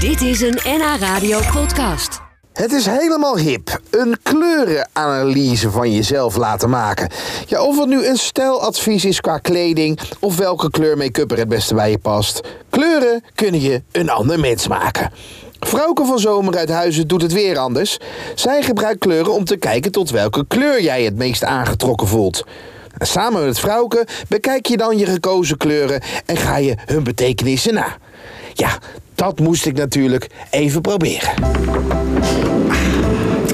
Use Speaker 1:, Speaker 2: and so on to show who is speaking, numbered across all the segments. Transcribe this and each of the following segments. Speaker 1: Dit is een NH Radio podcast.
Speaker 2: Het is helemaal hip. Een kleurenanalyse van jezelf laten maken. Ja, of het nu een stijladvies is qua kleding of welke kleur make-up er het beste bij je past. Kleuren kunnen je een ander mens maken. Vrouwke van Zomer uit Huizen doet het weer anders. Zij gebruikt kleuren om te kijken tot welke kleur jij het meest aangetrokken voelt. Samen met Vrouwke bekijk je dan je gekozen kleuren en ga je hun betekenissen na. Ja, dat moest ik natuurlijk even proberen.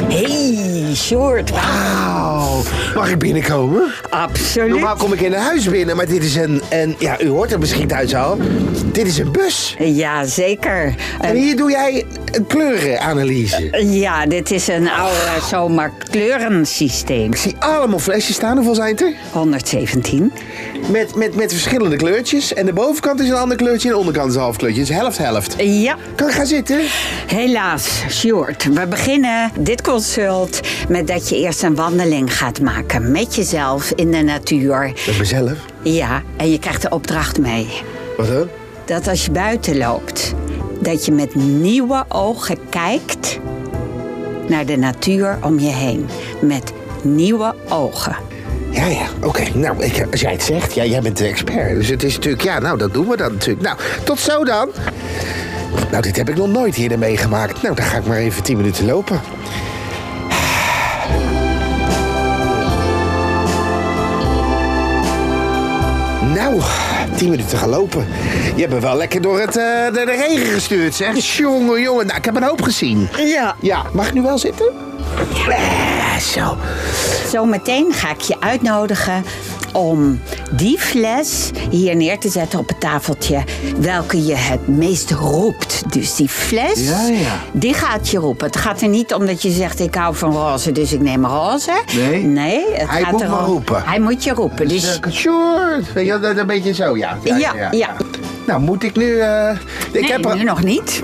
Speaker 3: Hey, Sjoerd.
Speaker 2: Wauw. Mag ik binnenkomen? Normaal
Speaker 3: Absoluut.
Speaker 2: kom ik in een huis binnen, maar dit is een... En ja, u hoort het misschien thuis al. Dit is een bus.
Speaker 3: Ja, zeker.
Speaker 2: En hier doe jij een kleurenanalyse.
Speaker 3: Eh, ja, dit is een oude zomaar kleurensysteem.
Speaker 2: Ik zie allemaal flesjes staan. Hoeveel zijn het er?
Speaker 3: 117.
Speaker 2: Met, met, met verschillende kleurtjes. En de bovenkant is een ander kleurtje en de onderkant is een half kleurtje. Dus helft, helft.
Speaker 3: Ja,
Speaker 2: Kan ik gaan zitten?
Speaker 3: helaas, Sjoerd. We beginnen dit consult met dat je eerst een wandeling gaat maken met jezelf in de natuur.
Speaker 2: Met mezelf.
Speaker 3: Ja, en je krijgt de opdracht mee.
Speaker 2: Wat dan?
Speaker 3: Dat als je buiten loopt, dat je met nieuwe ogen kijkt naar de natuur om je heen. Met nieuwe ogen.
Speaker 2: Ja, ja, oké. Nou, ik, als jij het zegt, ja, jij bent de expert. Dus het is natuurlijk, ja, nou, dat doen we dan natuurlijk. Nou, tot zo dan. Nou, dit heb ik nog nooit eerder meegemaakt. Nou, dan ga ik maar even 10 minuten lopen. Nou, 10 minuten gaan lopen. Je hebt me wel lekker door het, eh, de, de regen gestuurd, zeg. Jongen, jongen. Nou, ik heb een hoop gezien.
Speaker 3: Ja.
Speaker 2: Ja, mag ik nu wel zitten? Eh, zo.
Speaker 3: Zometeen ga ik je uitnodigen om die fles hier neer te zetten op het tafeltje. Welke je het meest roept. Dus die fles,
Speaker 2: Ja, ja.
Speaker 3: die gaat je roepen. Het gaat er niet om dat je zegt, ik hou van roze, dus ik neem roze.
Speaker 2: Nee.
Speaker 3: Nee. Het
Speaker 2: Hij
Speaker 3: gaat
Speaker 2: moet
Speaker 3: erom-
Speaker 2: me roepen.
Speaker 3: Hij moet je roepen. Dus
Speaker 2: Dus, sure. Weet je, dat een beetje zo, ja.
Speaker 3: Ja, ja.
Speaker 2: Nou, moet ik nu... eh, ik
Speaker 3: nee,
Speaker 2: heb er-
Speaker 3: nu nog niet.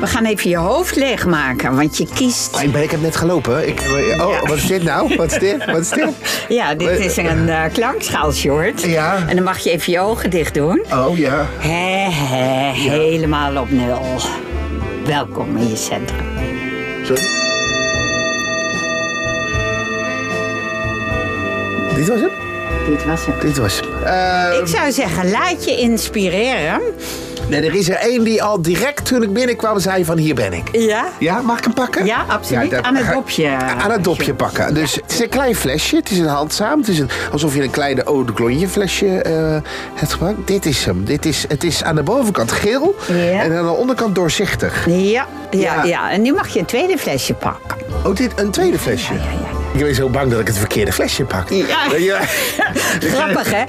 Speaker 3: We gaan even je hoofd leegmaken, want je kiest...
Speaker 2: Oh, ik, ben, ik heb net gelopen. Ik, oh, wat is dit nou? Wat is dit? Wat is dit?
Speaker 3: Ja, dit is een eh klankschaal, Sjoerd.
Speaker 2: Ja.
Speaker 3: En dan mag je even je ogen dicht doen.
Speaker 2: Oh, ja.
Speaker 3: He, he, helemaal op nul. Welkom in je centrum.
Speaker 2: Sorry. Dit was hem?
Speaker 3: Dit was het.
Speaker 2: Dit was hem. Eh,
Speaker 3: Ik zou zeggen, laat je inspireren.
Speaker 2: nee, er is er één die al direct toen ik binnenkwam zei van hier ben ik.
Speaker 3: Ja?
Speaker 2: Ja, mag ik hem pakken?
Speaker 3: Ja, absoluut.
Speaker 2: daar-
Speaker 3: Aan het
Speaker 2: ga-
Speaker 3: dopje. eh,
Speaker 2: Aan het dopje pakken. Dus het is een klein flesje. Het is een handzaam. Het is een, alsof je een kleine oude klonje flesje eh, hebt gepakt. Dit is hem. Dit is, het is aan de bovenkant geel.
Speaker 3: Ja.
Speaker 2: En aan de onderkant doorzichtig.
Speaker 3: Ja,
Speaker 2: Ja.
Speaker 3: ja, ja. En nu mag je een tweede flesje pakken.
Speaker 2: Oh, dit een tweede flesje. Ik ben zo bang dat ik het verkeerde flesje pak.
Speaker 3: Ja.
Speaker 2: Weet je-
Speaker 3: Grappig, hè?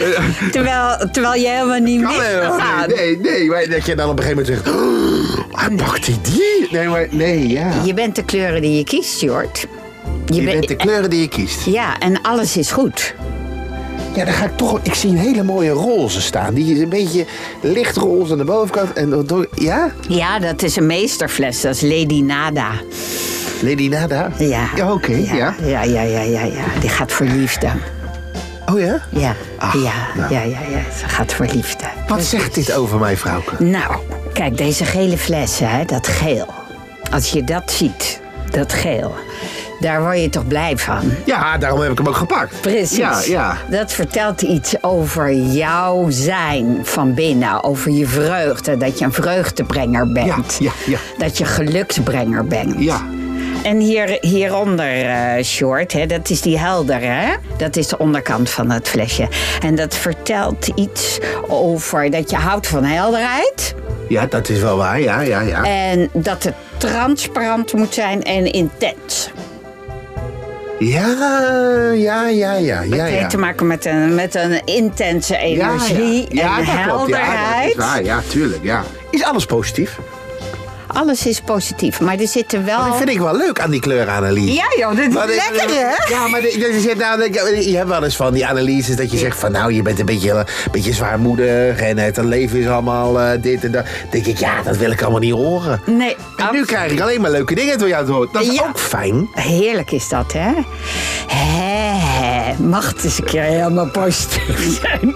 Speaker 3: Terwijl, terwijl je helemaal niet
Speaker 2: eh, Kan
Speaker 3: wist
Speaker 2: helemaal
Speaker 3: te
Speaker 2: niet.
Speaker 3: gaan.
Speaker 2: Nee, nee. Maar dat je dan op een gegeven moment zegt... "Oh, Hij pakt hij die? Nee, maar nee, ja.
Speaker 3: Je bent de kleuren die je kiest, Jord. Je,
Speaker 2: Je
Speaker 3: ben-
Speaker 2: bent de kleuren die je kiest.
Speaker 3: Ja, en alles is goed.
Speaker 2: Ja, dan ga ik toch. Ik zie een hele mooie roze staan. Die is een beetje lichtroze aan de bovenkant. En dan door- ja?
Speaker 3: Ja, dat is een meesterfles. Dat is Lady Nada.
Speaker 2: Lady Nada?
Speaker 3: Ja.
Speaker 2: Oké, ja.
Speaker 3: Ja, ja, ja, ja, ja. Die gaat voor liefde.
Speaker 2: Oh ja?
Speaker 3: Ja,
Speaker 2: Ach,
Speaker 3: ja,
Speaker 2: nou.
Speaker 3: ja, ja, ja. Ze gaat voor liefde.
Speaker 2: Wat zegt dit over mij, vrouwke?
Speaker 3: Nou, kijk, deze gele flessen, hè, dat geel. Als je dat ziet, dat geel, daar word je toch blij van?
Speaker 2: Ja, daarom heb ik hem ook gepakt.
Speaker 3: Precies.
Speaker 2: Ja, ja.
Speaker 3: Dat vertelt iets over jouw zijn van binnen. Over je vreugde. Dat je een vreugdebrenger bent.
Speaker 2: Ja, ja,
Speaker 3: Dat je geluksbrenger bent.
Speaker 2: Ja.
Speaker 3: En hier, hieronder, eh Short, hè, dat is die heldere. Hè? Dat is de onderkant van het flesje. En dat vertelt iets over dat je houdt van helderheid.
Speaker 2: Ja, dat is wel waar. Ja, ja, ja.
Speaker 3: En dat het transparant moet zijn en intens.
Speaker 2: Ja, ja, ja, ja. ja,
Speaker 3: Het heeft
Speaker 2: ja.
Speaker 3: te maken met een, met een intense energie
Speaker 2: ja, dat
Speaker 3: en
Speaker 2: klopt. Ja, dat
Speaker 3: helderheid.
Speaker 2: is waar. Ja, tuurlijk. Ja. Is alles positief?
Speaker 3: Alles is positief, maar er zitten wel...
Speaker 2: Dat vind ik wel leuk aan die kleurenanalyse.
Speaker 3: Oh. Ja joh, dit is
Speaker 2: Maar dit-
Speaker 3: lekker hè?
Speaker 2: Ja, maar dit- dit is het nou, ik- je hebt wel eens van die analyses dat je zegt van nou, je bent een beetje, een beetje zwaarmoedig en het leven is allemaal eh, dit en dat. Dan denk ik, ja, dat wil ik allemaal niet horen.
Speaker 3: Nee, oh,
Speaker 2: En nu krijg ik alleen maar leuke dingen door jou te horen. Dat is
Speaker 3: Ja.
Speaker 2: ook fijn.
Speaker 3: Heerlijk is dat, hè? Hè, hè. mag het eens een keer helemaal positief zijn.